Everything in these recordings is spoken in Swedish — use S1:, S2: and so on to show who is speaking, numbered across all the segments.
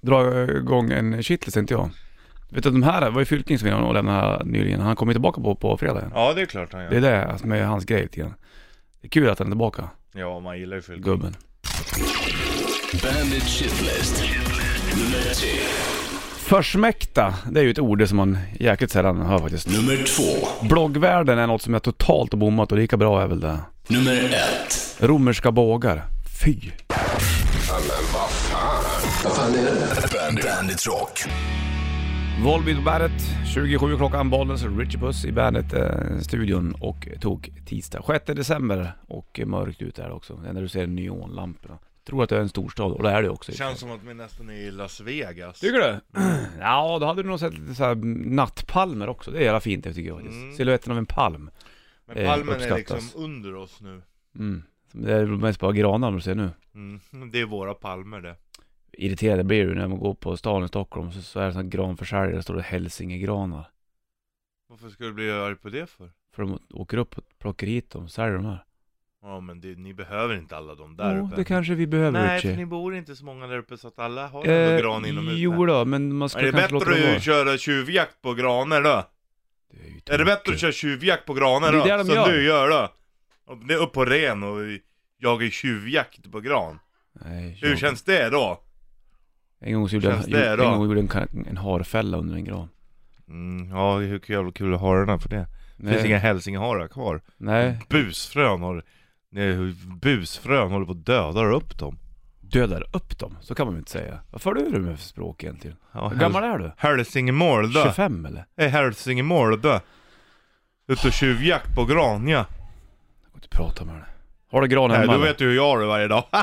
S1: dra igång en shitlist tänkte jag. Vet du de här, det var ju Fylking som var och lämnade här nyligen. Han kommer ju tillbaka på, på fredag.
S2: Ja, det är klart han gör.
S1: Det är det som är hans grej lite grann. Det är kul att han är tillbaka,
S2: Ja, man gillar ju Phil.
S1: gubben.
S3: Bandit Shitlist. Nummer tre.
S1: Försmäkta, det är ju ett ord som man jäkligt sällan hör faktiskt.
S3: Nummer två.
S1: Bloggvärlden är något som jag totalt har bommat och lika bra är väl det.
S3: Nummer ett.
S1: Romerska bågar. Fy.
S3: Bandit, Bandit Rock.
S1: Volbeat på bandet, 27 klockan, Bollnäs, Richie Puss i bandet-studion och tog tisdag 6 december och mörkt ut där också. Det enda du ser är neonlamporna. Tror att det är en storstad och det är det också.
S2: Det känns som att vi nästan är i Las Vegas.
S1: Tycker du? Ja, då hade du nog sett lite så här nattpalmer också. Det är jävla fint det tycker jag faktiskt.
S2: Mm.
S1: Silhuetten av en palm.
S2: Men palmen är
S1: uppskattas.
S2: liksom under oss nu.
S1: Mm. Det är mest bara granar om du ser nu.
S2: Mm. Det är våra palmer det.
S1: Irriterad blir du när man går på stan i Stockholm så, så är det sån här granförsäljare, där står det hälsingegranar.
S2: Varför skulle du bli arg på det för?
S1: För de åker upp och plockar hit dem, säljer de här.
S2: Ja men det, ni behöver inte alla de där
S1: Jo,
S2: uppe.
S1: det kanske vi behöver
S2: Nej,
S1: Richie. Eh,
S2: för ni bor inte så många där uppe så att alla har ändå gran inomhus.
S1: jo då, men man
S2: är
S1: skulle
S2: det
S1: kanske låta
S2: bättre
S1: dem
S2: att
S1: vara.
S2: ju köra tjuvjakt på granar då?
S1: Det ju
S2: Är det bättre att
S1: tokigt.
S2: köra tjuvjakt på granar
S1: Det
S2: då?
S1: är det de
S2: som
S1: gör.
S2: du gör då? Om Det är upp på ren och jagar tjuvjakt på gran.
S1: Nej,
S2: Hur
S1: jag-
S2: känns det då?
S1: En gång så gjorde
S2: känns
S1: jag,
S2: det då?
S1: en gång gjorde jag en, kan- en harfälla under en gran.
S2: Mm, ja, hur kul, kul att ha den här för det. Det finns inga
S1: Nej,
S2: hälsingeharar kvar.
S1: nej
S2: Busfrön har... nej, Busfrön håller på att döda upp dem.
S1: dödar upp dem. Så kan man väl inte säga. Vad för du med för språk egentligen?
S2: Ja,
S1: Hur gammal är du?
S2: Hälsingemål då?
S1: 25 eller?
S2: Är hälsingemål då? Ut och tjuvjakt på gran ja.
S1: Jag går inte prata med henne. Har du gran
S2: Nej,
S1: hemma?
S2: du
S1: eller?
S2: vet ju hur jag har det varje dag.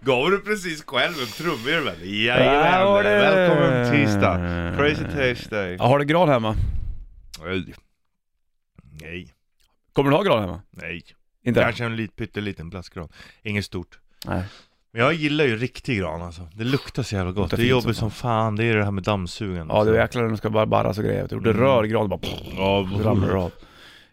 S2: Gav du precis själv en trumvirvel?
S1: Ja, var
S2: Jajamän!
S1: det.
S2: Välkommen tisdag! Crazy Tuesday!
S1: Eh. Ja, har du gran hemma?
S2: Nej. Nej,
S1: Kommer du ha gran hemma?
S2: nej.
S1: Inte?
S2: Kanske en lit, pytteliten plastgran. Inget stort.
S1: Nej.
S2: Men jag gillar ju riktig gran alltså. Det luktar så jävla gott.
S1: Luktar
S2: Det är
S1: fint
S2: jobbigt
S1: som
S2: som fan. Det är det här med dammsugaren.
S1: Ja, det var jäklar när de ska bara barras och grejer. Du gjorde
S2: Mm.
S1: rör gran och bara pff,
S2: Ja,
S1: så ramlar det av.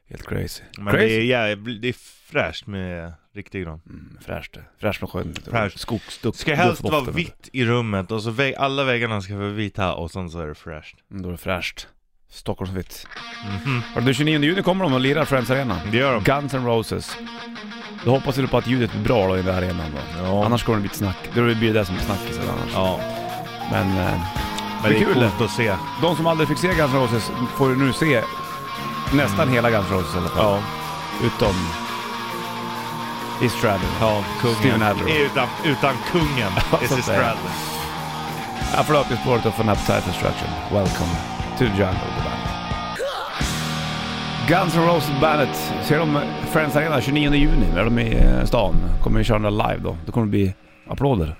S1: Helt crazy.
S2: Men det är, jävligt, det är fräscht med riktig gran.
S1: Mm, fräscht det. Fräscht som sjön.
S2: Fräscht.
S1: Skogsduck.
S2: Ska helst
S1: duftboften,
S2: vara
S1: vet du.
S2: vitt i rummet och så vä- alla väggarna ska vara vita och sen så är det fräscht.
S1: Mm, då är det fräscht. Stockholmsvitt.
S2: Mhm.
S1: Hörru Du, 29 juni kommer de och lirar Friends Arena.
S2: Det gör de.
S1: Guns N' Roses. Då hoppas vi på att ljudet blir bra då i den här arenan då.
S2: Ja.
S1: Annars kommer det bli ett snack. Då blir det det som blir snackisen annars.
S2: Ja,
S1: Men eh,
S2: men det är
S1: kul
S2: kul att se.
S1: de som aldrig fick se Guns N' Roses får nu se nästan hela Guns N' Roses i alla fall.
S2: Ja,
S1: Utom... East Stradlin.
S2: ja,
S1: Steven
S2: kungen.
S1: Adler.
S2: Är Utan, utan kungen,
S1: så
S2: is
S1: att säga.
S2: Stradley.
S1: Här får du öppningsspåret och från Appetite Destruction. Welcome to the jungle, the band. Guns N' Roses bandet. Ser de Friends Arena 29 juni. Är de i eh, stan. Kommer vi köra den där live då. Det kommer bli applåder.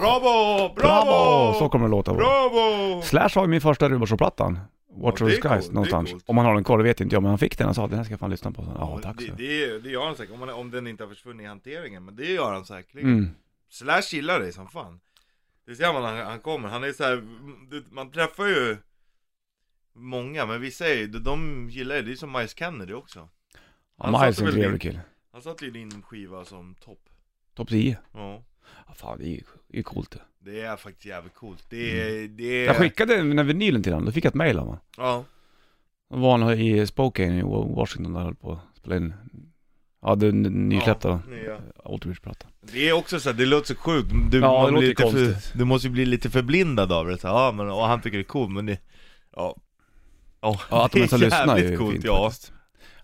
S2: Bravo!
S1: Så
S2: Bravo!
S1: kommer det låta.
S2: Bravo!
S1: Slash har ju min första Rubershow-plattan. Watch
S2: Ja,
S1: of
S2: det
S1: the
S2: är coolt,
S1: Skies
S2: det är
S1: någonstans.
S2: coolt.
S1: Om han har den kvar det vet inte jag, men han fick den. Han sa att den här ska jag fan lyssna på. Ja, tack så.
S2: Det, det, det gör han säkert, om, han- om den inte har försvunnit i hanteringen. Men det gör han säkerligen.
S1: Mm.
S2: Slash gillar dig som fan. Det ser man när han, han kommer. Han är så här, det- man träffar ju många, men vissa är ju, de- de gillar ju, det är som Miles Kennedy också.
S1: Ja,
S2: Han
S1: Miles
S2: satte
S1: är en
S2: väl
S1: trevlig
S2: dit.
S1: kille.
S2: Han satte ju din skiva som topp.
S1: Topp 10.
S2: Ja.
S1: Ja, fan, det är ju det är ju coolt det.
S2: Det är faktiskt jävligt coolt. Det
S1: Mm.
S2: är, det är...
S1: Jag skickade den här vinylen till honom. Då fick jag ett mail av honom.
S2: Ja.
S1: Då var han i Spokane i Washington där han höll på att spela in, ja den nysläppta
S2: ja,
S1: då,
S2: nya.
S1: Alterbridge-plattan.
S2: Det är också så här, det låter så sjukt. Du,
S1: Ja,
S2: man
S1: det
S2: blir
S1: låter
S2: lite
S1: konstigt.
S2: För, du måste ju bli lite förblindad av det. Så, här, ja, men, och han tycker det är coolt, men det... Ja.
S1: Ja, att de ens har
S2: det är
S1: lyssnat är ju
S2: jävligt coolt,
S1: fint
S2: ja.
S1: faktiskt.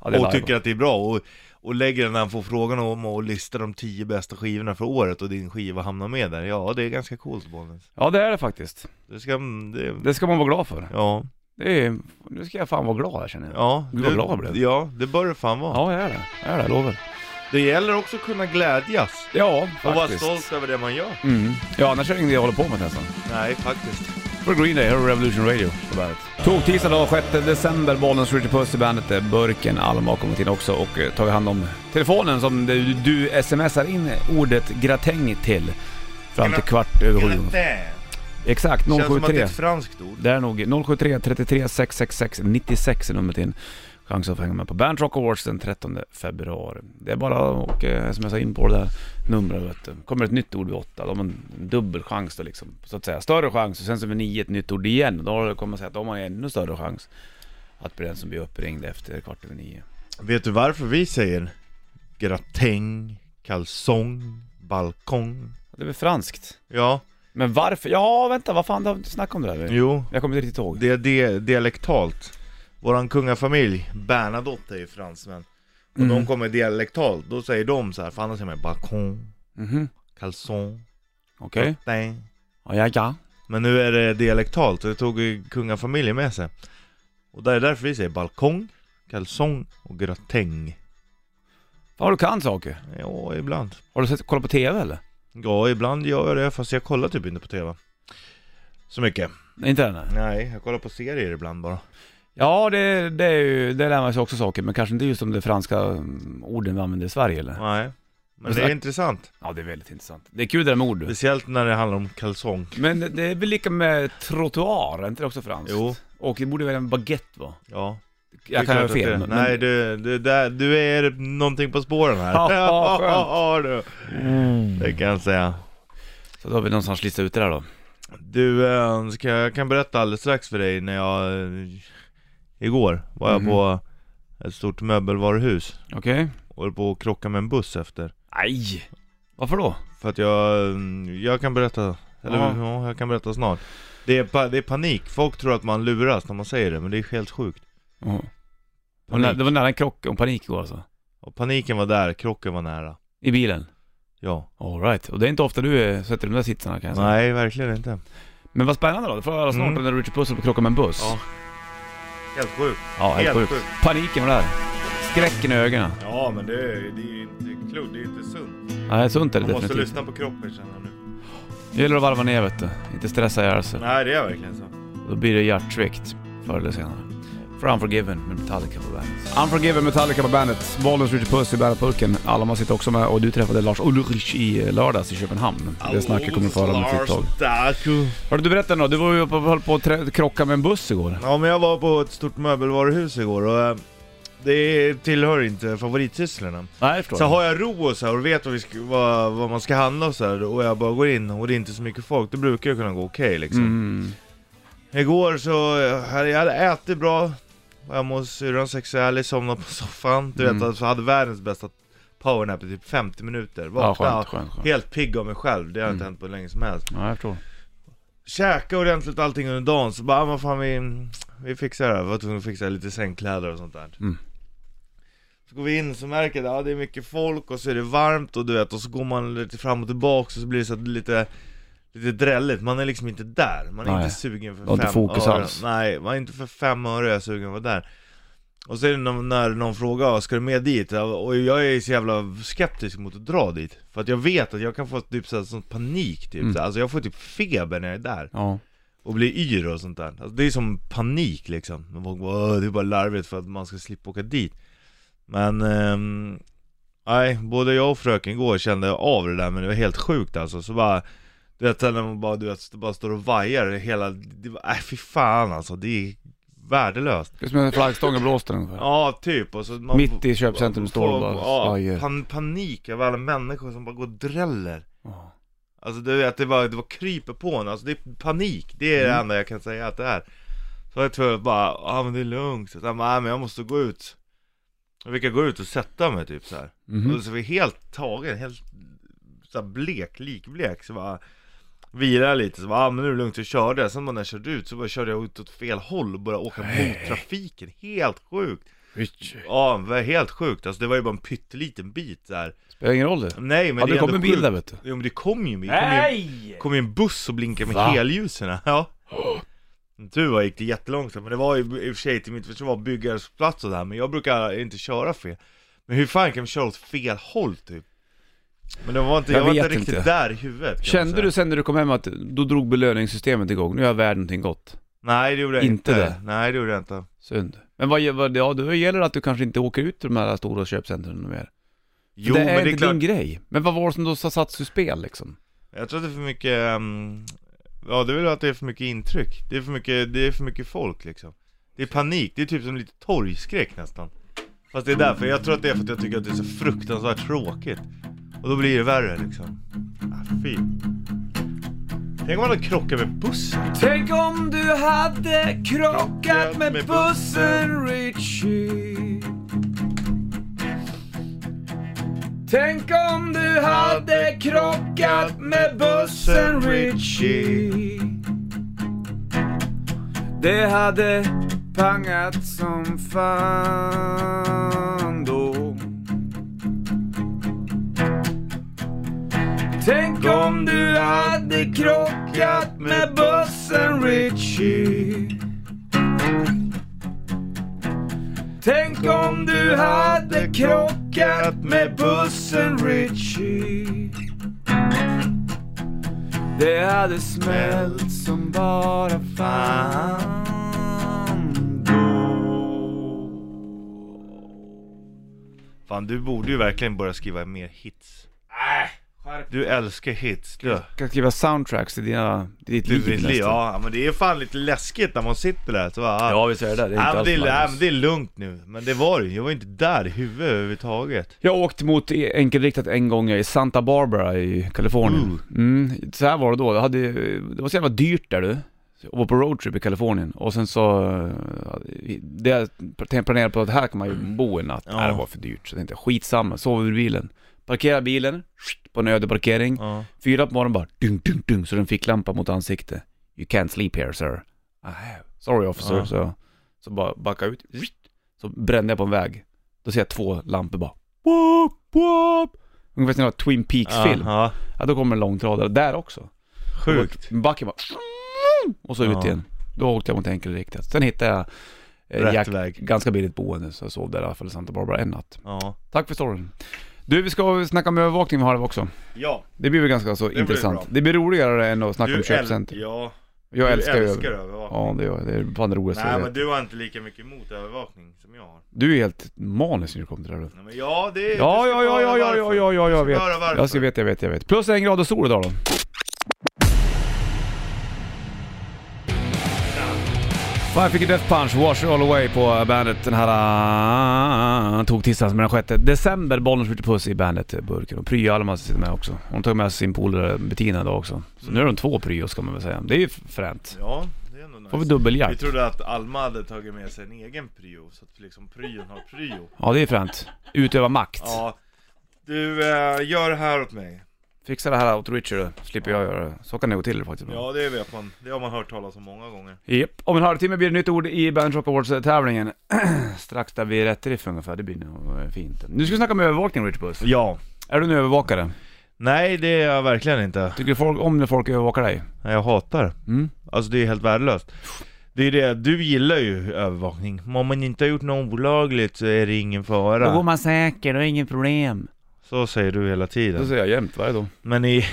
S1: Ja, det är
S2: Och
S1: live.
S2: tycker att det är bra och, och lägger den när han får frågan om och listar de tio bästa skivorna för året och din skiva hamnar med där. Ja, det är ganska coolt Bollnäs.
S1: Ja det är det faktiskt.
S2: Det ska, det,
S1: Det ska man vara glad för.
S2: ja,
S1: Det är, nu ska jag fan vara glad här känner jag.
S2: ja.
S1: Gud, vad
S2: det-
S1: glad jag blev.
S2: Ja, det bör det fan vara.
S1: Ja jag är det, jag är det, jag lovar.
S2: Det gäller också att kunna glädjas.
S1: Ja
S2: Och vara
S1: faktiskt.
S2: stolt över det man gör.
S1: Mm. Ja annars är det inget jag håller på med nästan.
S2: Nej, faktiskt.
S1: För Green Day, här har Revolution Radio på bandet. Tog tisdag dag 6 december, Bollnäs Ritchie Puss i bandet, eh, Burken, Alma har kommit in också och eh, tagit hand om telefonen som du, du smsar in ordet gratäng till. Fram till kvart över sju.
S2: Gratin.
S1: Exakt,
S2: Känns som att det är
S1: 073.
S2: ett franskt ord.
S1: Det är nog 073 33 666 96 är numret in. chans att få hänga med på Band Rock Awards den 13 februari. Det är bara att eh, smsa in på det där numret vet du. Kommer ett nytt ord vid åtta, då har man en dubbel chans då liksom. Så att säga, större chans och sen så vid nio ett nytt ord igen. Då kommer man säga att då har man ännu större chans att bli den som blir uppringd efter kvart över nio.
S2: Vet du varför vi säger gratäng, kalsong, balkong?
S1: Det är väl franskt?
S2: Ja,
S1: Men varför? Ja, vänta, vad fan, det har vi snackat om det där jo.
S2: jo,
S1: Jag kommer inte riktigt ihåg.
S2: det är det, dialektalt. Våran kungafamilj, Bernadotte är ju fransmän. Och de kommer dialektalt, då säger de så här, för annars säger man balkong,
S1: Mhm,
S2: kalsong,
S1: okej.
S2: gratäng.
S1: Ja, ja, ja.
S2: Men nu är det dialektalt, och det tog ju kungafamiljen med sig. Och det är därför vi säger balkong, kalsong och gratäng.
S1: Fan vad du kan saker.
S2: Ja, ibland.
S1: Har du sett, kollat på TV eller?
S2: Ja, ibland gör jag det, fast jag kollar typ inte på TV. Så mycket.
S1: Inte än? nej.
S2: Nej, jag kollar på serier ibland bara.
S1: Ja, det, det, är ju, det lär man sig också saker, men kanske inte just om det franska mm, orden vi använder i Sverige eller?
S2: Nej. Men
S1: Men
S2: det är
S1: så-
S2: intressant.
S1: Ja, det är väldigt intressant. Det är kul det där med ord. du.
S2: Speciellt när det handlar om kalsong.
S1: Men det är väl lika med trottoar, är inte det också franskt?
S2: Jo.
S1: Och det borde väl en baguette vara?
S2: Ja.
S1: Jag
S2: det är
S1: kan
S2: klart
S1: ha
S2: att
S1: fel.
S2: det- Nej, du, du, där, du är någonting på spåren här.
S1: Ja, skönt. Mm.
S2: ja, du. Det kan jag säga.
S1: Så då har vi någonstans listat ut det där då.
S2: Du, eh, ska, jag kan berätta alldeles strax för dig när jag... eh, Igår var jag
S1: Mhm.
S2: på ett stort möbelvaruhus
S1: Okej?
S2: och höll på att krocka med en buss efter.
S1: Nej! Varför då?
S2: För att jag, eh, jag kan berätta, eller
S1: Ja.
S2: ja. jag kan berätta snart. Det är, pa, det är panik, folk tror att man luras när man säger det, men det är helt sjukt.
S1: Jaha. Det var nä- Det
S2: Panik.
S1: var nära en krock och panik igår alltså.
S2: Och paniken var där, krocken var nära.
S1: I bilen?
S2: Ja.
S1: Alright. Och det är inte ofta du eh, sätter de där sitsarna kan jag säga.
S2: Nej, verkligen inte.
S1: Men vad spännande då, det får jag höra snart
S2: Mm.
S1: när Richard Puss och krockar med en buss.
S2: Ja. Helt sjukt.
S1: Ja, helt,
S2: Helt
S1: sjukt.
S2: sjukt.
S1: Paniken var där. Skräcken i ögonen.
S2: Ja, men det, är- det är ju inte klokt, det är ju inte sunt.
S1: Nej, sunt är det
S2: Man måste
S1: definitivt.
S2: lyssna på kroppen känner jag nu.
S1: Det gäller att varva ner vet du. Inte stressa ihjäl sig.
S2: Nej, det är verkligen så.
S1: Då blir det hjärtsvikt förr eller senare. För Unforgiven med Metallica på bandet. Unforgiven Metallica på bandet. Bollnäs Richard Puss i bandetburken. Alma sitter också med och du träffade Lars Ulrich i eh, lördags i Köpenhamn. Det snacket kommer du få höra om ett litet tag.
S2: Daku.
S1: Hörru du berätta något. Du var ju uppe och höll på att trä- krocka med en buss igår.
S2: Ja men jag var på ett stort möbelvaruhus igår och eh, det tillhör inte favoritsysslorna.
S1: Nej, jag förstår.
S2: Så har jag ro och så här och vet vad, vi ska, vad, vad man ska handla och så här, och jag bara går in och det är inte så mycket folk, då brukar det kunna gå okej liksom.
S1: Mm.
S2: Igår så, eh, hade jag hade ätit bra, var hemma hos syrran, sexuellt, somnade på soffan, du
S1: Mm.
S2: vet alltså, jag hade världens bästa powernap i typ 50 minuter.
S1: Ja,
S2: Vaknade
S1: skönt, skönt, skönt.
S2: helt pigg av mig själv, det har
S1: Mm.
S2: inte hänt på länge som helst.
S1: Ja, jag förstår.
S2: käka ordentligt allting under dagen, så bara, ah, vad fan vi, vi fixar det här, vi var tvungna att fixa lite sängkläder och sånt där
S1: Mm.
S2: Så går vi in så märker jag att ah, det är mycket folk och så är det varmt och du vet, och så går man lite fram och tillbaka och så blir det så att lite Lite drälligt, man är liksom inte där, man är
S1: Nej.
S2: inte sugen för
S1: Du har inte
S2: fem
S1: fokus
S2: öre.
S1: alls.
S2: Nej, man är inte för fem öre jag är sugen på att vara där Och så är det någon, när någon frågar, "Ah, ska du med dit? Och jag är så jävla skeptisk mot att dra dit För att jag vet att jag kan få typ så här, sån panik typ,
S1: Mm.
S2: så här. alltså jag får typ feber när jag är där
S1: Ja.
S2: och bli yr och sånt där. Alltså, det är som panik liksom. Men folk bara, "Åh, det är bara larvigt för att man ska slippa åka dit. Men, ehm, nej, både jag och fröken igår kände av det där men det var helt sjukt alltså. Så bara, du vet sen när man bara, du vet, bara står och vajar hela, det var, nej fy fan alltså. Det är värdelöst.
S1: Det är som en flaggstång i blåsten ungefär.
S2: Ja, typ. Och så man,
S1: Mitt i köpcentrum står det bara
S2: Ja,
S1: svajer.
S2: pan, panik över alla människor som bara går och dräller.
S1: Ja.
S2: Alltså du vet, det var, det var kryper på en, alltså det är panik, det är det
S1: Mm.
S2: enda jag kan säga att det är Så jag tror jag bara, ja ah, men det är lugnt, så jag bara, "Nej, men jag måste gå ut Jag fick gå ut och sätta mig typ så här.
S1: Mhm.
S2: Och så var jag helt tagen, helt så här blek, likblek, så bara Vila lite, så bara, ah, men nu är det lugnt, så körde jag, sen bara när jag körde ut så bara körde jag ut åt fel håll och började åka mot trafiken, helt sjukt!
S1: Richard.
S2: Ja, det var helt sjukt, alltså det var ju bara en pytteliten bit där
S1: Spelar ingen roll det.
S2: Nej men
S1: Ja,
S2: det är
S1: det kom
S2: ändå
S1: en bild
S2: sjukt.
S1: där vet du.
S2: Jo men det kom ju, det kom ju kom ju en buss och blinkade med
S1: Va?
S2: helljusen. Ja. Som Tur var gick det jättelångsamt, men det var ju i och för sig till mitt försvar byggarbetsplats och där, men jag brukar inte köra fel. Men hur fan kan man köra åt fel håll typ? Men det var inte,
S1: Jag
S2: jag, var inte
S1: vet
S2: riktigt
S1: inte.
S2: där i huvudet kan man
S1: Kände
S2: säga.
S1: du sen när du kom hem att då drog belöningssystemet igång, nu är jag värd någonting gott?
S2: Nej det gjorde jag
S1: Inte
S2: inte.
S1: det?
S2: Nej det gjorde jag inte.
S1: Synd. Men vad, vad ja, då gäller det att du kanske inte åker ut till de här stora köpcentren och mer.
S2: Jo
S1: det är
S2: men det är
S1: inte
S2: klart,
S1: din grej. Men vad var det som då satt ur spel liksom?
S2: jag tror att det är för mycket, ehm, ja det är väl att det är för mycket intryck. Det är för mycket, det är för mycket folk liksom. Det Det är panik, det är typ som lite torgskräck nästan. Fast det är därför, jag tror att det är för att jag tycker att det är så fruktansvärt tråkigt. Och då blir det värre liksom. Ah, fy. Tänk om man hade krockat med bussen.
S1: Tänk om du hade krockat med
S2: med
S1: bussen Richie Tänk om du hade krockat med bussen Richie Det hade pangat som fan då Tänk om du hade krockat med bussen Richie Tänk om du hade krockat med bussen Richie Det hade smält som bara fan då
S2: Fan du borde ju verkligen börja skriva mer hits.
S1: Äh,
S2: Du älskar hits du.
S1: Ska skriva soundtracks i dina, ditt
S2: Du
S1: liv
S2: vill
S1: nästan.
S2: ja men det är fan lite läskigt när man sitter där så bara,
S1: ja, visst är det där. Det är inte
S2: Ja, men
S1: alls
S2: det, är, ja,
S1: nice.
S2: men det är lugnt nu, men det var det ju. Jag var inte där i huvudet överhuvudtaget.
S1: Jag har åkt mot e- enkelriktat en gång i Santa Barbara i Kalifornien. Mm, så här var det då, det, hade, det var så jävla dyrt där du. Jag var på roadtrip i Kalifornien och sen så, eh, det jag planerade på att här kan man ju bo en natt.
S2: Ja.
S1: Nej, det var för dyrt så jag tänkte skitsamma, sov i bilen. Parkera bilen, skit, på en öde parkering.
S2: Ja.
S1: Fyra på morgonen bara, dung, dung, dung, så den fick lampa mot ansiktet. You can't sleep here sir. "Ah, Sorry officer,
S2: Ja.
S1: så jag. Så bara backa ut, Skit. så brände jag på en väg. Då ser jag två lampor bara, wop, wop. Ungefär som en Twin Peaks-film.
S2: Ja,
S1: Ja, då kommer en långtradare där också.
S2: sjukt. Ah.
S1: Backen bara, och så ut
S2: Ja.
S1: igen. Då åkte jag mot enkelriktat. Sen hittade jag eh,
S2: Rätt
S1: Jack,
S2: väg.
S1: ganska billigt boende, så jag sov där i alla fall i Santa Barbara en natt.
S2: Ja.
S1: Tack för storyn. Du, vi ska snacka om övervakning vi har också.
S2: Ja,
S1: Det blir väl ganska så
S2: blir
S1: intressant.
S2: bra.
S1: Det blir roligare än att snacka
S2: du
S1: om
S2: äl-
S1: köpcenter.
S2: ja,
S1: Jag
S2: du
S1: älskar ju...
S2: älskar övervakning.
S1: Ja, det gör jag. Det är fan det roligaste jag
S2: Nej
S1: vet.
S2: men du har inte lika mycket emot övervakning som jag har.
S1: Du är helt manisk när du kommer till det här.
S2: Nej, men ja, det är...
S1: Ja,
S2: du
S1: ja,
S2: ska
S1: ja, ja,
S2: höra
S1: ja, ja,
S2: varför.
S1: ja, ja, jag
S2: Du
S1: vet.
S2: ska höra varför.
S1: Jag ska vet, jag vet, jag vet. Plus en grad och sol idag då. Five Finger Death Punch, Wash All Away på bandet den här... Uh, tog tisdagen med den 6 december. Bollnäs skjuter puss i bandet eh, Burken och Pryo Alma sitter med också. Hon tog med sin polare Bettina idag också. Så nu är de två Pryo ska man väl säga. Det är ju fränt.
S2: Ja, det är ändå
S1: Får vi
S2: nice. Vi
S1: dubbeljakt.
S2: trodde att Alma hade tagit med sig en egen pryo, så att liksom pryon har pryo.
S1: Ja det är fränt. Utöva makt.
S2: Ja, du eh, gör det här åt mig.
S1: Fixa det här åt Richard då, slipper jag göra det. Så kan det gå till det faktiskt.
S2: Ja, det vet man. Det har man hört talas om många gånger.
S1: Japp, om en halvtimme blir det nytt ord i Bandit Rock Awards-tävlingen. Strax där vid rätt riff ungefär, det blir nog eh, fint. Nu ska vi snacka om övervakning Rich Puss.
S2: Ja.
S1: Är du en övervakare?
S2: Nej, det är jag verkligen inte.
S1: Tycker folk om när folk övervakar dig?
S2: Nej, Jag hatar
S1: Mm.
S2: Alltså det är helt värdelöst. Det är det, du gillar ju övervakning. Om man inte har gjort något olagligt så är det ingen fara.
S1: man säker, då är inget problem.
S2: Så säger du hela
S1: Det
S2: tiden.
S1: säger jag jämt varje dag.
S2: Men i,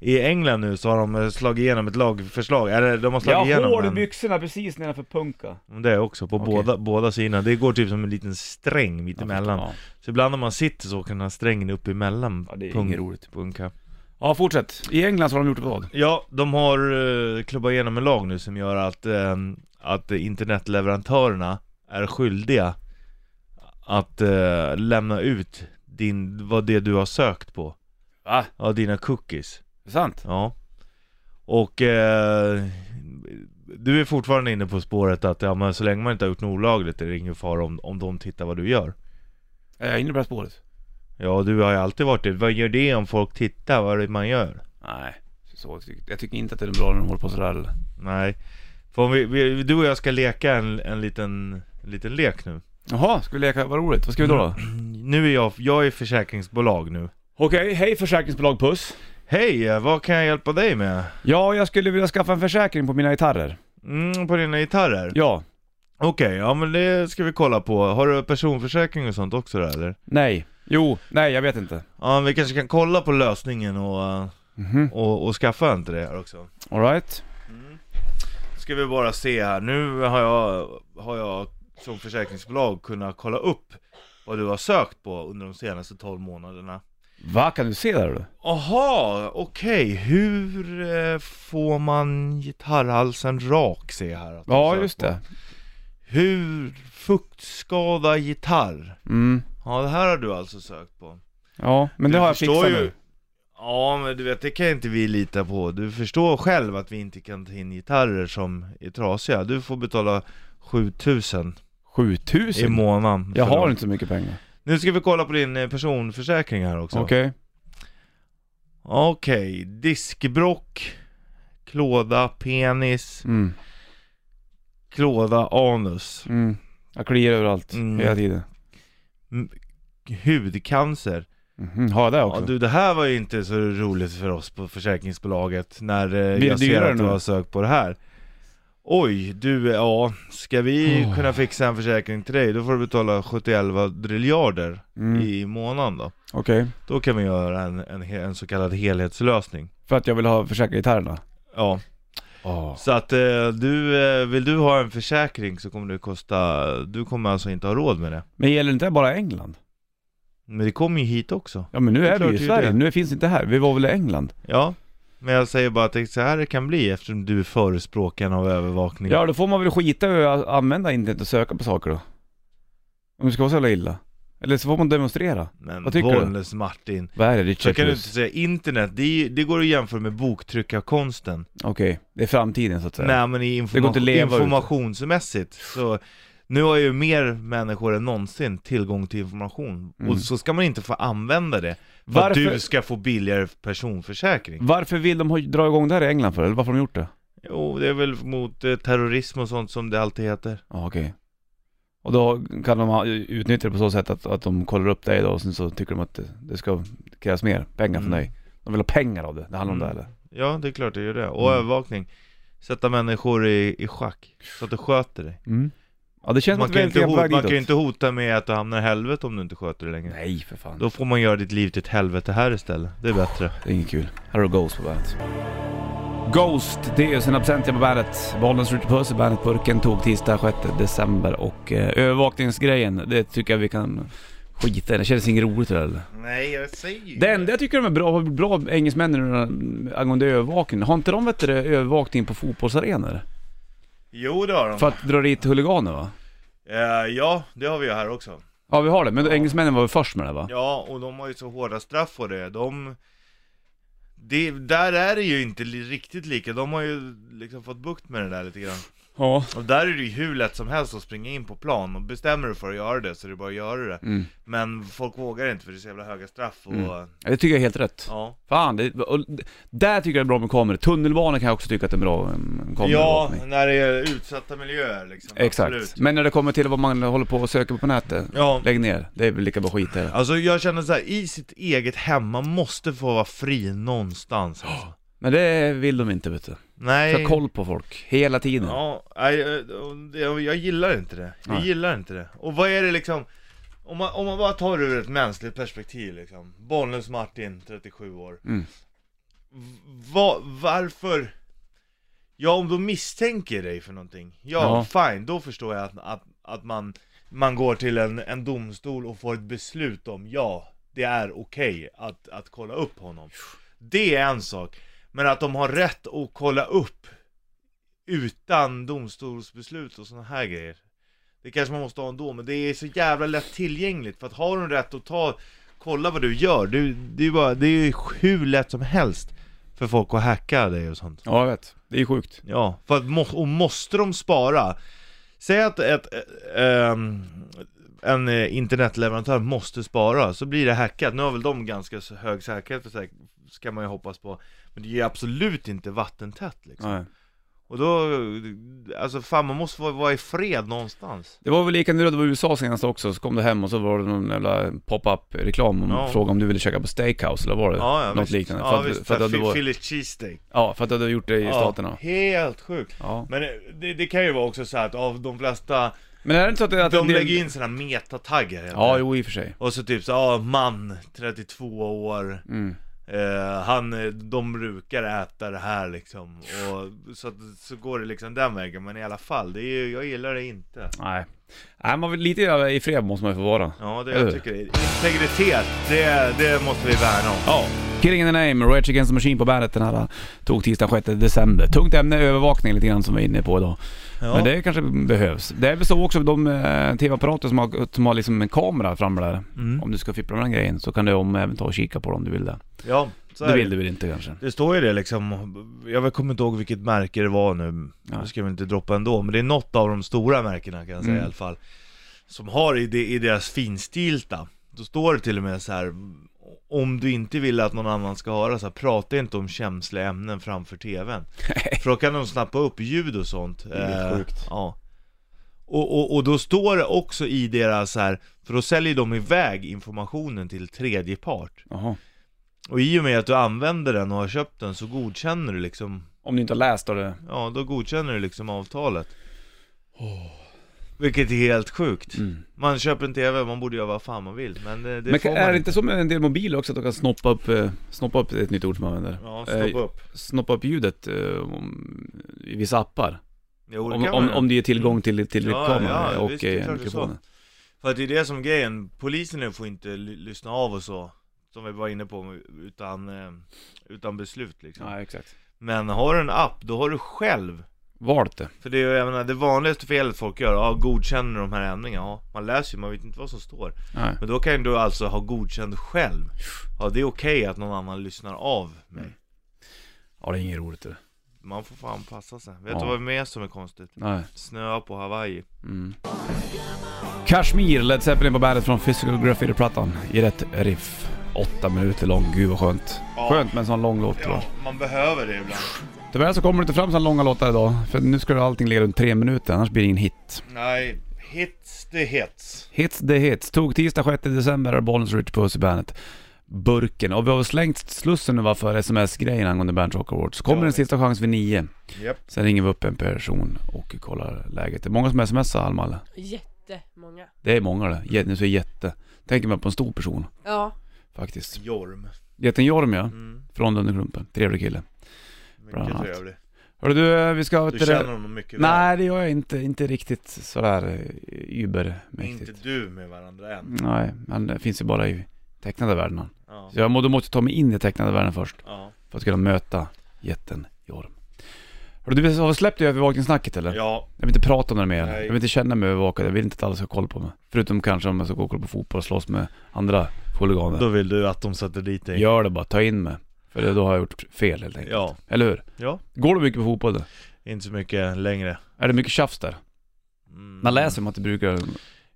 S2: i England nu så har de eh, slagit igenom ett lagförslag, eller de har slagit
S1: Jag har
S2: igenom
S1: hål i
S2: en,
S1: byxorna precis nedanför punka.
S2: Mm, det också, på
S1: Okej.
S2: båda, båda sidorna. Det går typ som en liten sträng mittemellan.
S1: Ja,
S2: Så ibland när man sitter så åker den här strängen upp emellan
S1: ja, det är
S2: pung-
S1: inget roligt.
S2: punka.
S1: Ja, fortsätt. I England så har de gjort vad?
S2: Ja, de har eh, klubbat igenom en lag nu som gör att, eh, att internetleverantörerna är skyldiga att eh, lämna ut din, vad det du har sökt på.
S1: Va?
S2: Ja, dina cookies.
S1: Är det sant?
S2: Ja. Och eh, du är fortfarande inne på spåret att ja, men så länge man inte har gjort något olagligt är det ingen fara om, om de tittar vad du gör.
S1: Eh, Är jag inne på det här spåret?
S2: Ja, du har ju alltid varit det. Vad gör det om folk tittar vad det är man gör?
S1: Nej. Så, jag tycker inte att det är bra när de håller på sådär. eller?
S2: Nej. För om vi, vi, du och jag ska leka en, en liten, en liten lek nu.
S1: Jaha, ska vi leka? Vad roligt. Vad ska vi då? då?
S2: Nu är jag, jag är försäkringsbolag nu.
S1: Okej, hej försäkringsbolag Puss.
S2: Hej, eh, vad kan jag hjälpa dig med?
S1: Ja, jag skulle vilja skaffa en försäkring på mina gitarrer.
S2: Mm, på dina gitarrer?
S1: Ja.
S2: Okej, ja men det ska vi kolla på. Har du personförsäkring och sånt också då eller?
S1: Nej. Jo. Nej, jag vet inte.
S2: Ja, men vi kanske kan kolla på lösningen och, eh, och, och skaffa en till det här också.
S1: Alright.
S2: Ska vi bara se här, nu har jag, har jag som försäkringsbolag kunnat kolla upp vad du har sökt på under de senaste 12 månaderna.
S1: Va? Kan du se där du?
S2: Aha, okej. Hur eh, får man gitarrhalsen rak? Ser jag här att de
S1: Ja,
S2: söker
S1: just
S2: på.
S1: det.
S2: Hur fuktskada gitarr?
S1: Mm.
S2: Ja, det här har du alltså sökt på.
S1: Ja, men
S2: Du
S1: det har jag
S2: förstår
S1: fixat
S2: ju-
S1: nu.
S2: Ja, men du vet, det kan inte vi lita på. Du förstår själv att vi inte kan ta in gitarrer som är trasiga. Du får betala 7000 i
S1: 7000?
S2: månaden.
S1: Jag
S2: för
S1: har
S2: dem.
S1: inte så mycket pengar.
S2: Nu ska vi kolla på din eh, personförsäkring här också.
S1: Okej.
S2: Okej, diskbrock, klåda, penis,
S1: Mm.
S2: klåda, anus,
S1: Mm. Jag kliar överallt,
S2: Mm.
S1: hela tiden.
S2: hudcancer.
S1: Mhm, Har jag det
S2: Ja,
S1: också?
S2: du, det här var ju inte så roligt för oss på försäkringsbolaget när eh,
S1: det
S2: jag ser
S1: dyrare
S2: att du
S1: nu?
S2: har sökt på det här. Oj, du, eh, ja, ska vi
S1: Oh.
S2: kunna fixa en försäkring till dig, då får du betala 71 driljarder
S1: Mm.
S2: i månaden då.
S1: Okej.
S2: Då kan vi göra en, en, he- en så kallad helhetslösning.
S1: För att jag vill ha försäkra gitarrerna?
S2: Ja, Så att eh, du, eh, vill du ha en försäkring så kommer det kosta, du kommer alltså inte ha råd med det.
S1: Men gäller inte det bara England?
S2: Men det kommer ju hit också.
S1: Ja men nu
S2: Det är
S1: är vi ju
S2: klart
S1: i
S2: det är
S1: Sverige,
S2: det.
S1: nu finns det inte här. Vi var väl i England?
S2: Ja, men jag säger bara att det är så här det kan bli eftersom du är förespråkaren av övervakning.
S1: Ja då får man väl skita i att använda internet och söka på saker då. Om det ska vara så jävla illa. Eller så får man demonstrera.
S2: men
S1: vad tycker du?
S2: Bollnäs Martin.
S1: Vad är det? Ditt
S2: Så kan du inte
S1: checklist?
S2: säga internet, det, är, ju- det går att jämföra med boktryckarkonsten.
S1: Okej, det är framtiden så att säga.
S2: Nej men i
S1: Det går inte att
S2: informa-
S1: leva ute.
S2: informationsmässigt så nu har ju mer människor än någonsin tillgång till information.
S1: Mm.
S2: Och så ska man inte få använda det. För att
S1: Varför-
S2: du ska få billigare personförsäkring.
S1: Varför vill de ha, dra igång det här i England för? Eller varför har de gjort det?
S2: Jo, det är väl mot eh, terrorism och sånt som det alltid heter.
S1: Ja okej. Och då kan de ha- utnyttja det på så sätt att, att de kollar upp dig då och sen så tycker de att det, det ska krävas mer pengar från
S2: Mm.
S1: dig. De vill ha pengar av det, det handlar om det
S2: Mm.
S1: eller?
S2: Ja, det är klart det gör det. Och
S1: Mm.
S2: övervakning. Sätta människor i, i schack, så att du sköter dig.
S1: Mm. Ja det känns som
S2: Man
S1: att vi
S2: kan,
S1: är
S2: ju inte
S1: lite på
S2: hota,
S1: väg
S2: man kan ju
S1: ditåt.
S2: inte hota med att du hamnar i helvete om du inte sköter dig längre.
S1: Nej för fan.
S2: Då får man göra ditt liv till ett helvete här istället. Det är bättre.
S1: Det är inget kul. Här har du Ghost på bandet. Ghost, det är sin absentia på bandet. Bollens Ritchie Puss i bandet Burken tog tisdag 6 december och eh, övervakningsgrejen, det tycker jag vi kan skita i. Det känns inget roligt eller?
S2: Nej, jag säger ju
S1: Det enda jag tycker de är bra, bra engelsmännen eh, angående övervakning, har inte de vet du, övervakning på fotbollsarenor?
S2: Jo, det har de.
S1: För att dra dit huliganer va?
S2: Eh, ja, det har vi ju här också.
S1: Ja vi har det, men engelsmännen var väl först med det va?
S2: Ja, och de har ju så hårda straff på det. De... Det, där är det ju inte li- riktigt lika, de har ju liksom fått bukt med det där lite grann.
S1: Ja.
S2: Och där är det ju hur lätt som helst att springa in på plan och bestämmer du för att göra det så är det bara att göra det.
S1: Mm.
S2: Men folk vågar inte för det är så jävla höga straff och...
S1: Mm. Ja, Det tycker jag är helt rätt.
S2: Ja.
S1: Fan, det, och, d- där tycker jag det är bra med kameror. Tunnelbanan kan jag också tycka att det är bra mm,
S2: ja,
S1: kameror.
S2: när det är utsatta miljöer liksom.
S1: Exakt.
S2: Absolut.
S1: Men när det kommer till vad man håller på och söker på på nätet,
S2: Ja.
S1: lägg ner. Det är väl lika bra skit i det.
S2: Alltså jag känner så här, i sitt eget hem, man måste få vara fri någonstans alltså.
S1: Men det vill de inte vet du.
S2: Nej.
S1: Ta koll på folk, hela tiden.
S2: Ja, nej, eh, jag, jag gillar inte det. Jag
S1: Nej.
S2: gillar inte det. Och vad är det liksom, om man, om man bara tar det ur ett mänskligt perspektiv liksom. Bollnäs Martin, 37 år.
S1: Mm.
S2: V- va, varför? Ja, om de misstänker dig för någonting, ja, fine, då förstår jag att, att, att man, man går till en, en domstol och får ett beslut om ja, det är okej att, att kolla upp honom. Det är en sak, men att de har rätt att kolla upp utan domstolsbeslut och sådana här grejer. Det kanske man måste ha ändå, men det är så jävla lätt tillgängligt för att har du rätt att ta, kolla vad du gör, du, det är ju bara, det är ju hur lätt som helst för folk att hacka dig och sånt.
S1: Ja, jag vet. Det är sjukt.
S2: Ja, för att, må- och måste de spara? Säg att ett, eh, ehm, en eh, internetleverantör måste spara, så blir det hackat. Nu har väl de ganska s- hög säkerhet, för säk- ska man ju hoppas på. Men det är ju absolut inte vattentätt liksom.
S1: Nej.
S2: Och då, alltså fan man måste vara, vara i fred någonstans.
S1: Det var väl lika när det var i USA senast också, så kom du hem och så var det någon jävla pop-up reklam och
S2: Ja.
S1: frågade om du ville käka på steakhouse eller var det
S2: Ja, ja,
S1: något
S2: visst.
S1: liknande?
S2: Ja,
S1: för, att,
S2: visst.
S1: för, att du
S2: Phil-
S1: var,
S2: Philly cheesesteak.
S1: ja, för att du hade gjort det i staterna.
S2: Helt sjukt.
S1: Ja.
S2: Men eh, det, det kan ju vara också så här att av de flesta,
S1: Men är det inte så att, det- att en
S2: de
S1: del-
S2: lägger in sådana metataggar heter
S1: Ja,
S2: det.
S1: jo i och för sig.
S2: Och så typ så, ja man, 32 år,
S1: Mm.
S2: eh, han, eh, de brukar äta det här liksom. Och så, att- så går det liksom den vägen, men i alla fall, det är ju, jag gillar det inte.
S1: Nej. Nej, man vill, lite i fred måste man ju få vara.
S2: Ja, det
S1: Eller?
S2: jag tycker det är integritet, det, det måste vi värna om.
S1: Ja. Killing in the name, Rage Against the Machine på bandet den här eh, tog tisdag 6 december. Tungt ämne, övervakning lite grann som vi är inne på idag. Men det kanske behövs. Det är väl så också de eh, tv-apparater som har, som har liksom en kamera framme där.
S2: Mm.
S1: Om du ska fippla med den grejen så kan du om även ta och kika på dem om du vill det.
S2: ja så
S1: Det
S2: är det.
S1: vill du väl inte kanske?
S2: Det står ju det liksom, jag kommer inte ihåg vilket märke det var nu,
S1: Nej.
S2: det ska vi inte droppa ändå, men det är något av de stora märkena kan jag säga
S1: Mm.
S2: i alla fall, som har i, det, i deras finstilta, då står det till och med så här om du inte vill att någon annan ska höra så här, prata inte om känsliga ämnen framför TVn. För då kan de snappa upp ljud och sånt. Det
S4: är helt sjukt.
S2: Ja. Och, och, och då står det också i deras så här, för då säljer de iväg informationen till tredje part.
S1: Jaha.
S2: Och i och med att du använder den och har köpt den så godkänner du liksom
S1: Om du inte har läst då det...
S2: Ja, då godkänner du liksom avtalet Vilket är helt sjukt
S1: Mm.
S2: Man köper en TV, man borde göra vad fan man vill Men det, det
S1: Men
S2: får
S1: kan,
S2: man
S1: är det inte så med en del mobiler också att de kan snoppa upp, eh, snoppa upp det är ett nytt ord som man använder?
S2: Ja, stoppa
S1: Eh,
S2: upp
S1: snoppa upp ljudet eh, om, i vissa appar.
S2: jo, det
S1: Om,
S2: kan
S1: om,
S2: man.
S1: om det ger tillgång till, till
S2: Ja,
S1: kameran
S2: ja,
S1: och
S2: visst, det är
S1: eh,
S2: klart det är så.
S1: mikrofonen.
S2: För att det är det som är grejen Polisen nu får inte ly- lyssna av och så Som vi var inne på utan, eh, utan beslut liksom
S1: Nej, exakt.
S2: Men har du en app, då har du själv
S1: Valt det.
S2: För det är ju, jag menar, det vanligaste felet folk gör, ja godkänner de här ändringarna, ja man läser ju, man vet inte vad som står
S1: Nej.
S2: Men då kan du alltså ha godkänd själv. Ja, det är okej att någon annan lyssnar av mig.
S1: Ja, det är inget roligt det.
S2: Man får fan passa sig. Vet
S1: Ja.
S2: du vad mer som är konstigt?
S1: Nej.
S2: Snöa på Hawaii.
S1: Mm. Kashmir, Led Zeppelin på bandet från Physical Graffiti-plattan i rätt riff. Åtta minuter lång, gud vad skönt.
S2: Ja.
S1: Skönt med en sån lång låt då.
S2: man behöver det ibland.
S1: Tyvärr så kommer det inte fram så långa låtar idag, för nu ska allting ligga runt tre minuter, annars blir det ingen hit.
S2: Nej, hits det hits.
S1: Hits the hits. Tog tisdag 6 december är Bollnäs Rich Puss i bandet. Burken. Och vi har slängt slussen nu va för sms-grejen angående Bernt Rock Awards. Så kommer
S2: Ja.
S1: en sista chans vid nio.
S2: Japp.
S1: Sen ringer vi upp en person och kollar läget. Det är många som smsar Almalle.
S5: Jättemånga.
S1: Det är många det. Jä- Nu säger jätte. Tänker man på en stor person
S5: Ja,
S1: faktiskt.
S2: Jorm.
S1: Jätten Jorm ja,
S2: Mm,
S1: från Dunderklumpen. Trevlig kille. Bland
S2: mycket
S1: annat.
S2: trevlig.
S1: Hörru du, eh, vi ska...
S2: Du känner honom mycket
S1: Nej, det gör jag inte. Inte riktigt sådär eh,
S2: väl. Inte
S1: übermäktigt.
S2: du med varandra än.
S1: Nej, men det finns ju bara i tecknade världen. han.
S2: Ja.
S1: Så jag må, då måste jag ta mig in i tecknade världen först.
S2: Ja.
S1: För att kunna möta jätten Jorm. Hörru du, vi har släppt ju övervakningssnacket eller?
S2: ja.
S1: Jag vill inte prata om det mer.
S2: Nej.
S1: Jag vill inte känna mig övervakad. Jag vill inte att alla ska ha koll på mig. Förutom kanske om jag ska gå och kolla på fotboll och slåss med andra huliganer.
S2: Då vill du att de sätter dit dig.
S1: Gör det bara, ta in mig. För det- då har jag gjort fel helt enkelt.
S2: Ja.
S1: Eller hur?
S2: Ja.
S1: Går du mycket på fotboll då?
S2: Inte så mycket längre.
S1: Är det mycket tjafs där?
S2: Mm.
S1: Man läser om att det brukar...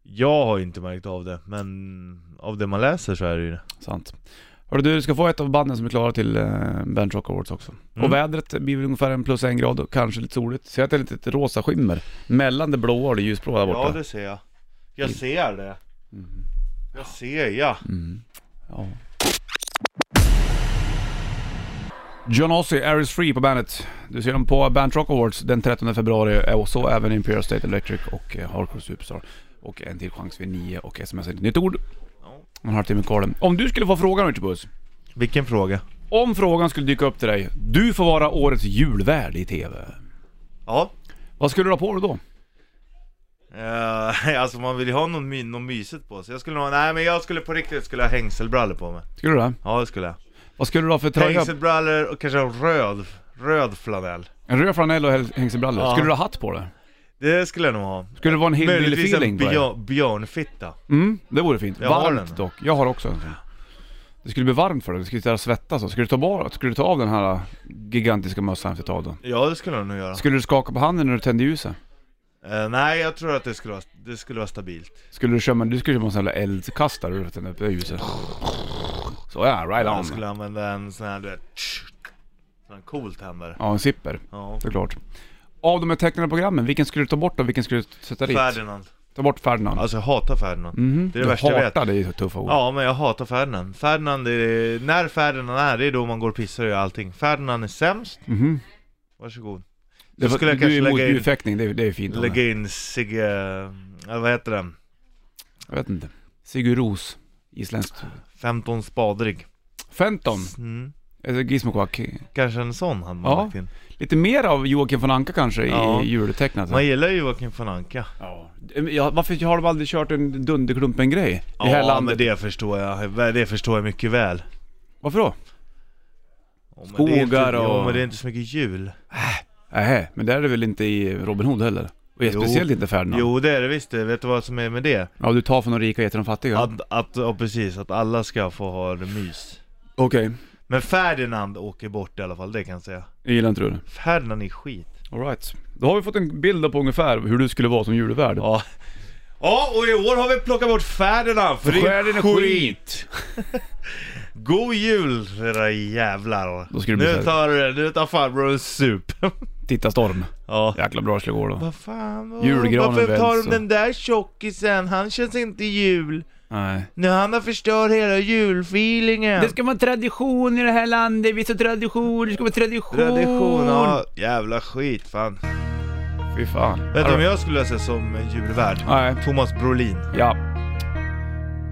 S2: Jag har inte märkt av det, men av det man läser så är det ju det.
S1: Sant. Hörru du, du ska få ett av banden som är klara till eh, Band Rock Awards också.
S2: Mm.
S1: Och vädret blir väl ungefär en plus en grad och kanske lite soligt. Ser att det är lite rosa skimmer mellan det blåa och det ljusblåa där borta?
S2: Ja det ser jag. Jag ser det.
S1: Mm.
S2: Jag ser ja.
S1: Mm. Ja. John Ossie, Air is Free på bandet. Du ser dem på Band Rock Awards den 13 februari och så även Imperial State Electric och eh, Hardcore Superstar. Och en till chans vid 9 och sms är ett nytt ord. Man har timme kvar. Om du skulle få frågan Richard Puss.
S2: Vilken fråga?
S1: Om frågan skulle dyka upp till dig. Du får vara årets julvärd i TV.
S2: Ja.
S1: Vad skulle du ha på dig då?
S2: Eh, alltså man vill ju ha någon, my- någon mysigt på sig. Jag skulle ha, nej men jag skulle på riktigt skulle ha hängselbrallor på mig.
S1: Skulle du det?
S2: Ja det skulle jag.
S1: Vad skulle du ha för tröja?
S2: Hängselbrallor och kanske en röd, röd flanell.
S1: En röd flanell och häl- hängselbrallor.
S2: Ja.
S1: Skulle du ha hatt på dig?
S2: Det skulle jag nog ha.
S1: Skulle det vara en
S2: Möjligtvis en
S1: hillbilly-feeling på dig?
S2: björn, björnfitta.
S1: Mm, det vore fint.
S2: Jag har
S1: varmt
S2: den.
S1: dock. Jag har också en sån. Det skulle bli varmt för dig, du skulle sitta och svettas och skulle du ta, bara, skulle du ta av den här gigantiska mössan efter ett tag då?
S2: Ja det skulle jag nog göra.
S1: Skulle du skaka på handen när du tände ljuset?
S2: Eh, nej jag tror att det skulle vara, det skulle vara stabilt.
S1: Skulle du köra, men du skulle köra en sån här eldkastare och tända upp det ljuset? Så ja,
S2: Jag
S1: right on.
S2: skulle använda en sån här du vet, sån här cool tändare.
S1: Ja, en zipper,
S2: Ja.
S1: såklart. Av de här tecknade programmen, vilken skulle du ta bort och vilken skulle du sätta dit?
S2: Ferdinand.
S1: Ta bort Ferdinand.
S2: Alltså jag hatar Ferdinand.
S1: Mhm.
S2: det är det
S1: du
S2: värsta jag
S1: hatar, det är ju tuffa ord.
S2: Ja, men jag hatar Ferdinand. Ferdinand är, när Ferdinand är, det är då man går och pissar och gör allting. Ferdinand är sämst.
S1: Mhm.
S2: Varsågod.
S1: Det,
S2: Då skulle jag
S1: du är
S2: kanske
S1: emot
S2: lägga in,
S1: ljudfäktning, det, är- det är fint. Anna.
S2: lägga in Sigge, eller vad heter den?
S1: Jag vet inte. Sigur Ros, isländskt.
S2: 15 spadrig.
S1: Fenton.
S2: Mm.
S1: Alltså Gizmo Quack.
S2: Kanske en sån hade man
S1: Ja.
S2: lagt in.
S1: Lite mer av Joakim von Anka kanske
S2: Ja.
S1: i alltså. jultecknat.
S2: Man gillar ju Joakim von Anka.
S1: Ja. Ja, varför har de aldrig kört en Dunderklumpen-grej i det här
S2: Ja, men
S1: landet?
S2: det förstår jag. Det förstår jag mycket väl.
S1: Varför då?
S2: Ja, men det är
S1: Skogar
S2: inte,
S1: och-
S2: Jo, men det är inte så mycket jul.
S1: Nej, men det är det väl inte i Robin Hood heller? Och
S2: Jo.
S1: speciellt inte Ferdinand?
S2: Jo, det är det visst det. Vet du vad som är med det?
S1: Ja, du tar från de rika och ger till de fattiga?
S2: Att, att, ja, precis, att alla ska få ha det mys.
S1: Okej,
S2: Men Ferdinand åker bort i alla fall, det kan jag säga.
S1: jag gillar inte du det.
S2: Ferdinand är skit.
S1: Alright. Då har vi fått en bild på ungefär hur du skulle vara som julvärd.
S2: Ja. Ja, och i år har vi plockat bort Ferdinand för det är
S1: Skär
S2: skit.
S1: din skit.
S2: God jul era jävlar.
S1: Då ska det bli så
S2: nu,
S1: här.
S2: tar, nu tar farbror en sup.
S1: Titta storm.
S2: ja.
S1: Jäkla bra skulle gå då.
S2: Vad fan, vad-
S1: Julgranen
S2: varför tar
S1: välts
S2: de
S1: och-
S2: den där tjockisen? Han känns inte jul.
S1: Nej.
S2: Nu han har förstört hela julfeelingen.
S1: Det ska vara tradition i det här landet, vi ska tradition, det ska vara tradition.
S2: Tradition, ja. Jävla skit fan.
S1: Fy fan.
S2: Vet du vem jag skulle läsa som en julvärd?
S1: Nej.
S2: Thomas Brolin.
S1: Ja.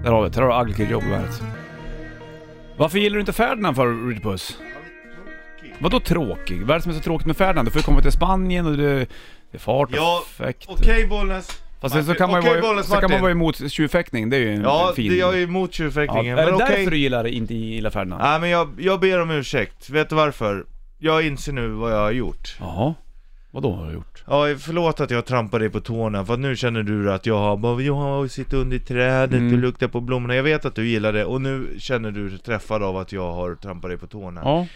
S1: Där har vi det. Där har du Aglikers jobb värdet. Varför gillar du inte Ferdinand för Richard Puss? Vadå tråkig? Vad är det som är så tråkigt med Ferdinand? Du får ju komma till Spanien och det, det är fart och
S2: Ja,
S1: fäkt.
S2: Okej okay, Bollnäs.
S1: Fast sen så kan man ju
S2: Okej,
S1: vara,
S2: Bollnäs,
S1: så kan man
S2: Martin.
S1: vara emot tjuvfäktning, det är ju en
S2: Ja,
S1: fin...
S2: det, jag är emot
S1: Ja,
S2: tjuvfäktningen.
S1: Är det
S2: men okej.
S1: därför du gillar, inte gillar Ferdinand?
S2: Nej men jag, jag ber om ursäkt. Vet du varför? Jag inser nu vad jag har gjort.
S1: Jaha. Vadå har du gjort?
S2: Ja, förlåt att jag trampar dig på tårna, för att nu känner du att jag har bara, jag har sitter under trädet
S1: Mm.
S2: och luktar på blommorna. Jag vet att du gillar det och nu känner du dig träffad av att jag har trampat dig på tårna.
S1: Ja.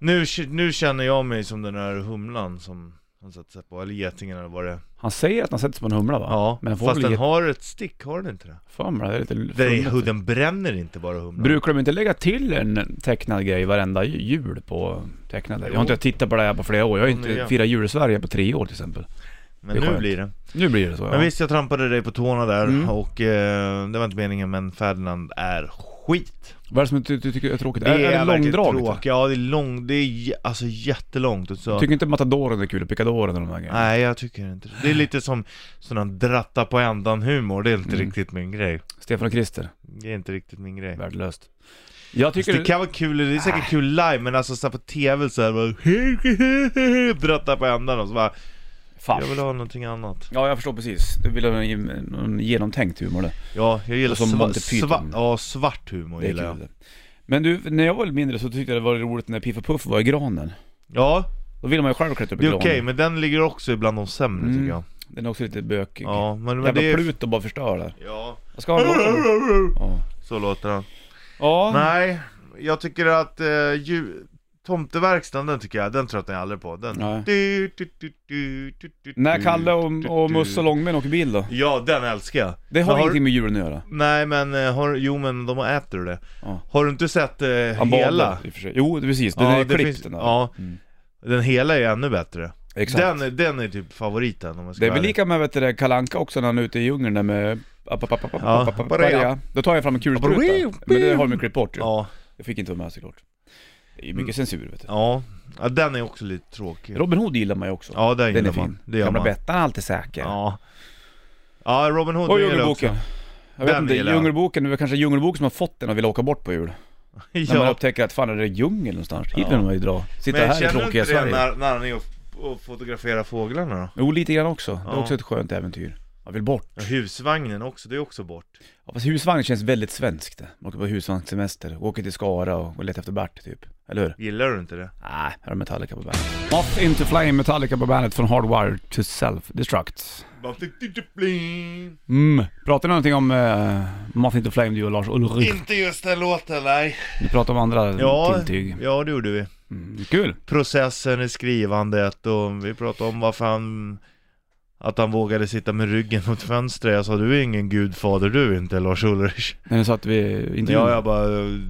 S2: Nu, nu känner jag mig som den där humlan som han satte sig på, eller getingen eller vad det är.
S1: Han säger att han sätter sig på en humla va?
S2: Ja,
S1: Men den får
S2: fast
S1: väl
S2: den
S1: get-
S2: har ett stick, har den inte det?
S1: För mig, det är lite
S2: Den,
S1: flummigt.
S2: den bränner inte bara humlan.
S1: Brukar de inte lägga till en tecknad grej varenda ju- jul på tecknade? Jag har inte
S2: Jo.
S1: tittat på det här på flera år. Jag har
S2: Jo, nu
S1: inte
S2: ja.
S1: firat jul i Sverige på tre år till exempel.
S2: men
S1: det är
S2: nu
S1: skönt.
S2: blir det.
S1: Nu blir det så
S2: Men
S1: ja.
S2: visst, jag trampade dig på tårna där
S1: Mm.
S2: och eh, det var inte meningen, men Ferdinand är skit.
S1: Vad är det som du, du tycker är tråkigt? Det är, är det
S2: verkligen
S1: långdraget?
S2: typ tråkigt. Ja, det är lång, det är j- alltså jättelångt och så.
S1: Tycker inte matadoren är kul? och Picadoren och de där grejerna?
S2: Nej, jag tycker inte det. Det är lite som sån dratta på ändan humor, det är inte
S1: Mm.
S2: riktigt min grej.
S1: Stefan och Christer?
S2: Det är inte riktigt min grej.
S1: Värdelöst. Jag
S2: Fast
S1: tycker... Ah.
S2: Det kan vara kul, det är säkert kul live, men alltså så här på tv så här bara dratta på ändan och så bara,
S1: Fan.
S2: jag vill ha någonting annat.
S1: Ja, jag förstår precis. Du vill ha en, en genomtänkt humor där.
S2: Ja, jag gillar
S1: Och som
S2: sva,
S1: Monty Python.
S2: sva, ja, svart humor
S1: Det är
S2: gillar jag.
S1: kul. det. Men du, när jag var mindre så tyckte jag det var roligt när Piff och Puff var i granen.
S2: Ja,
S1: Då ville man ju själv klättra upp i
S2: det är
S1: granen.
S2: okej, men den ligger också ibland de sämre
S1: Mm.
S2: tycker jag.
S1: Den är också lite bökig.
S2: Ja, men, men
S1: Jävla
S2: det är...
S1: Pluto bara förstör där.
S2: Ja.
S1: Vad ska han vara? Ja.
S2: Så låter han.
S1: Ja.
S2: Nej, jag tycker att eh, ju, tomteverkstan, den tycker jag, den tröttnar jag aldrig på. Den.
S1: Nej.
S2: Du, du, du, du, du, du,
S1: När
S2: du,
S1: Kalle och,
S2: du,
S1: och
S2: du.
S1: Musse Långben åker bil då?
S2: Ja, den älskar jag.
S1: Det har
S2: Men
S1: ingenting med julen att göra.
S2: Nej men, eh, har, jo men de äter det.
S1: Ja.
S2: Har du inte sett eh,
S1: Han
S2: hela?
S1: badar i och för sig. Jo, det- precis. Den
S2: Ja,
S1: är
S2: det
S1: klippt
S2: finns-
S1: den där.
S2: ja.
S1: Mm.
S2: Den hela är ännu bättre.
S1: Exakt.
S2: Den, är- den är typ favoriten om man ska
S1: det är
S2: vara
S1: väl
S2: ärlig.
S1: lika med vet du, det, Kalle Anka också när han är ute i djungeln där med... app, app, app, app,
S2: Ja.
S1: app, app, Maria. Då tar jag fram en kulspruta. Men det har de ju klippt bort ju.
S2: Ja, Mm.
S1: Jag fick inte vara med såklart. Det är ju mycket censur vet du.
S2: ja. ja, den är också lite tråkig.
S1: Robin Hood gillar man ju också.
S2: Ja, den,
S1: Den är
S2: gillar man.
S1: fin.
S2: Det gör
S1: Gamla
S2: man.
S1: Bettan är alltid säker.
S2: Ja. Ja, Robin Hood
S1: Och
S2: den gillar jag
S1: Djungelboken. Jag vet
S2: Den
S1: inte,
S2: gillar jag.
S1: Djungelboken, det var kanske Djungelboken som har fått den och vill åka bort på jul.
S2: också.
S1: När man
S2: Ja.
S1: upptäcker att fan är det djungel någonstans? Hit
S2: Ja.
S1: vill man ju dra. Sitta här i
S2: känner du
S1: tråkiga
S2: inte det
S1: Sverige.
S2: när, när han är och, och fotograferar fåglarna då?
S1: Jo, lite grann också. Det är
S2: Ja.
S1: också ett skönt äventyr. Man vill bort.
S2: Ja, husvagnen också, det är också bort.
S1: Ja, fast husvagn känns väldigt svenskt. det. Man åker på husvagnssemester, åker till Skara och, och letar efter Bert typ. Eller hur?
S2: Gillar du inte det?
S1: Nej, här har Metallica på bandet. Off Into Flame, Metallica på bandet från Hardwire to Self-Destruct.
S2: Bara tick, tick, tick, bling.
S1: Mm. Pratar ni någonting om uh, Moth Into Flame du och Lars Ulrich?
S2: Inte just den låten, nej.
S1: Ni pratar om andra
S2: Ja,
S1: tilltyg.
S2: ja, det gjorde vi.
S1: Mm, kul!
S2: Processen i skrivandet och vi pratade om varför han... Att han vågade sitta med ryggen mot fönstret. Jag sa du är ingen gudfader du inte Lars Ulrich.
S1: När ni satt vid intervjun?
S2: Ja, jag bara,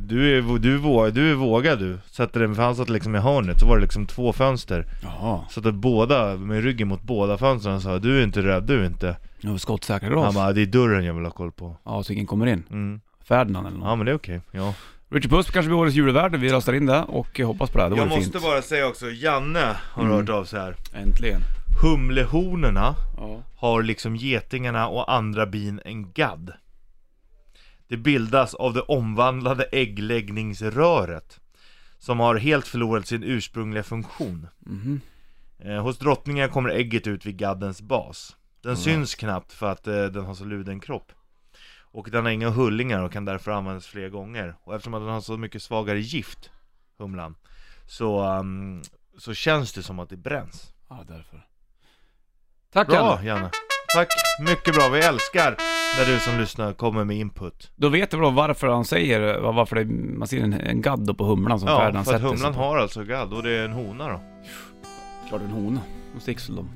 S2: du är, du, vågar, du är vågad du. Sätter den, för han satt liksom i hörnet, så var det liksom två fönster.
S1: Jaha,
S2: Så att båda, med ryggen mot båda fönstren och sa du är inte rädd, du är inte.
S1: nu har vi skottsäkra
S2: Han
S1: glas.
S2: bara, det är dörren jag vill ha koll på.
S1: Ja, så ingen kommer in.
S2: Mm.
S1: Ferdinand eller något.
S2: Ja men det är okej, ja.
S1: Richard Puss kanske blir årets julvärd, vi röstar in det och hoppas på det. Det
S2: Jag
S1: vore
S2: måste
S1: fint.
S2: bara säga också, Janne har
S1: Mm.
S2: hört av sig här.
S1: Äntligen.
S2: Humlehornorna
S1: Ja.
S2: har liksom getingarna och andra bin en gadd. Det bildas av det omvandlade äggläggningsröret. som har helt förlorat sin ursprungliga funktion.
S1: Mhm.
S2: Eh, hos drottningen kommer ägget ut vid gaddens bas. Den
S1: Mm.
S2: syns knappt för att eh, den har så luden kropp. Och den har inga hullingar och kan därför användas fler gånger. Och eftersom att den har så mycket svagare gift, humlan, så, ehm, så känns det som att det bränns.
S1: Ja, därför. Tack
S2: Bra
S1: Janne.
S2: Janne! Tack! Mycket bra, vi älskar när du som lyssnar kommer med input.
S1: Då vet du väl varför han säger, var- varför det, man ser en, en gadd då på humlan som
S2: Ja,
S1: Ferdinand
S2: för att
S1: sätter sig
S2: humlan
S1: på.
S2: har alltså gadd och det är en hona då.
S1: Klart en hona. De sticks väl de.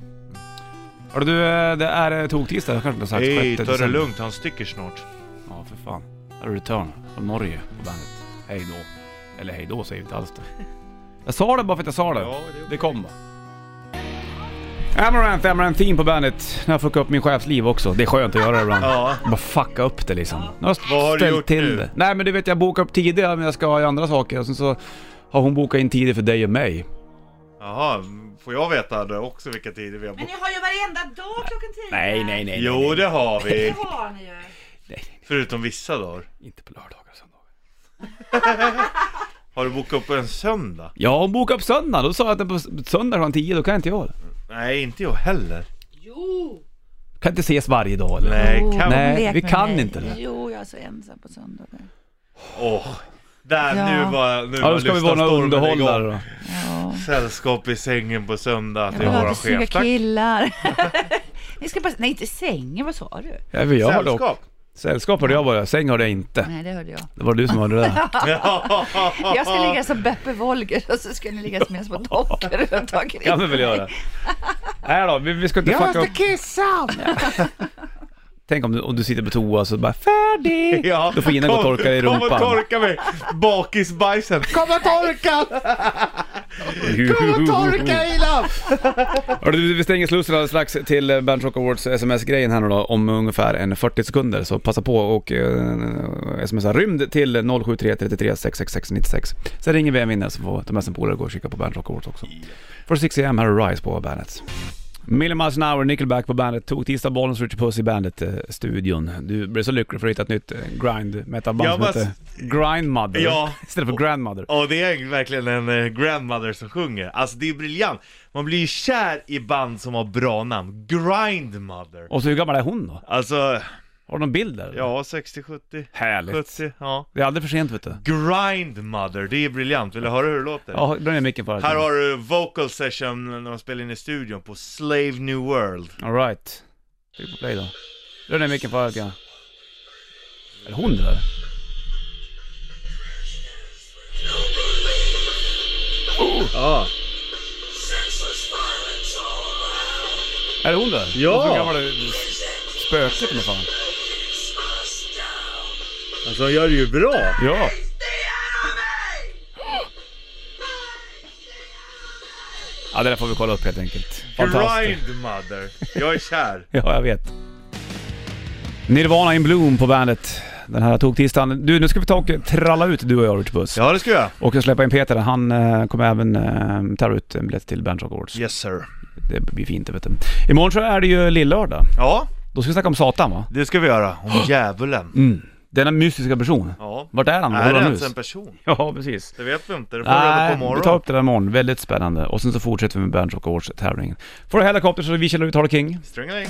S1: Hörru du, eh, det är eh, toktisdag, jag kanske inte har sagt.
S2: Hej,
S1: sjätte
S2: ta det
S1: december.
S2: lugnt, han sticker snart.
S1: Ja, för fan. Här är Return från Norge på bandet. Hej då. Eller hej då säger vi inte alls det. Jag sa det bara för att jag sa det. Det kom bara. Amaranth, Amaranth Theme på bandet. Nu har jag fuckat upp min chefs liv också. Det är skönt att göra det ibland.
S2: Ja,
S1: Bara fucka upp det liksom. Nu har
S2: Vad har
S1: jag
S2: du
S1: ställt
S2: gjort
S1: till
S2: nu?
S1: det. Nej men du vet jag bokar upp tider men jag ska ha andra saker. Och sen så har hon bokat in tider för dig och mig.
S2: jaha, får jag veta då också vilka tider vi har
S4: Men
S2: bokat?
S4: ni har ju varenda dag klockan tio.
S1: Nej, nej, nej.
S2: Jo, det har
S4: Det
S2: vi!
S4: har ni ju.
S2: Förutom vissa dagar.
S1: Inte på lördagar och söndagar.
S2: Har du bokat upp en söndag?
S1: Ja, hon bokade upp söndag. Då sa jag att den på s- söndag klockan 10, då kan inte jag.
S2: Nej, inte jag heller.
S4: Jo!
S1: Kan inte ses varje dag eller?
S2: Oh, Nej,
S5: Jo.
S2: kan...
S1: Nej,
S5: Lek
S1: vi
S5: med
S1: kan
S5: mig.
S1: inte det.
S5: Jo, jag är så ensam på söndagar.
S2: Åh! Där,
S5: Ja.
S2: nu var nu
S1: Ja, då ska vi vara några underhållare då.
S5: Ja.
S2: Sällskap i sängen på söndag
S5: Jag
S2: till
S5: vill ha
S2: våran
S5: snygga
S2: chef. Tack.
S5: killar. Ni ska bara... Nej, inte sängen. Vad sa du?
S1: Ja, men jag har dock.
S2: Sällskap!
S1: Sällskap hörde jag bara, säng hörde jag inte.
S5: Nej, det hörde jag.
S1: Det var du som hörde det där.
S5: Jag ska ligga som Beppe Wolger och så ska ni ligga som en små dockor runt omkring.
S1: kan vi väl göra. Nej då, vi, vi ska inte fucka upp.
S5: kissa!
S1: Tänk om du, om du sitter på toa så bara färdig.
S2: Ja,
S1: Då får Gina gå och torka dig i
S2: Kom och
S1: rumpan.
S2: torka mig! Bakisbajsen! Kom och torka! Ila!
S1: Hörru du, vi stänger slussen alldeles strax till Bernt Rock Awards sms-grejen här nu då om ungefär en 40 sekunder. Så passa på och eh, smsa rymd till 0733366696. Sen ringer vi en vinnare så får ta med sig en polare och gå och kika på Bernt Rock Awards också. För 6 am här är Rise på bandet. Million miles an hour, Nickelback på bandet. Tog tisdag bollen Richard Puss i bandet-studion. du blev så lycklig för att hitta ett nytt eh, grind metalband
S2: Jag
S1: som
S2: bara-
S1: heter Grindmother
S2: Ja.
S1: istället för Grandmother.
S2: Ja, det är verkligen en eh, grandmother som sjunger. Alltså det är briljant. Man blir ju kär i band som har bra namn. Grindmother.
S1: Och så hur gammal är hon då?
S2: Alltså,
S1: Har du någon bild där?
S2: ja 60-70.
S1: Härligt.
S2: 70, ja.
S1: Det är aldrig för sent vet du.
S2: Grindmother, det är briljant. Vill du höra hur det låter?
S1: Ja, dra ner micken för
S2: Här har du vocal session när de spelar in i studion på Slave New World.
S1: Alright. Tryck på play då. Dra ner micken för ögat. Är det hon det där?
S2: Ja.
S1: Är det hon det där?
S2: Ja!
S1: Hon så gammal eh, spöke eller vad fan.
S2: Alltså de gör det ju bra.
S1: Ja. Ja, det där får vi kolla upp helt enkelt. Fantastiskt.
S2: Grindmother. Jag är kär.
S1: Ja, jag vet. Nirvana in Bloom på bandet. Den här tog tisdagen. Du, nu ska vi ta och tralla ut du och jag, Richard Puss.
S2: Ja, det ska jag.
S1: Och jag släpper in Peter. Han eh, kommer även eh, ta ut en biljett till Band Rock Awards.
S2: Yes sir.
S1: Det blir fint, vet du. Imorgon så är det ju lillördag.
S2: Ja,
S1: Då ska vi snacka om Satan va?
S2: det ska vi göra. Om djävulen.
S1: Denna mystiska person.
S2: Ja.
S1: Vart är han?
S2: Är
S1: Håller
S2: det
S1: han
S2: ens
S1: hus?
S2: en person?
S1: Ja, precis.
S2: Det vet vi inte. Det får vi reda på
S1: Nej, vi tar
S2: imorgon.
S1: upp det där imorgon. Väldigt spännande. Och sen så fortsätter vi med Bernt Rock Awards-tävlingen. Får du helikopter så vi känner ut Harley King.
S2: Stringeling.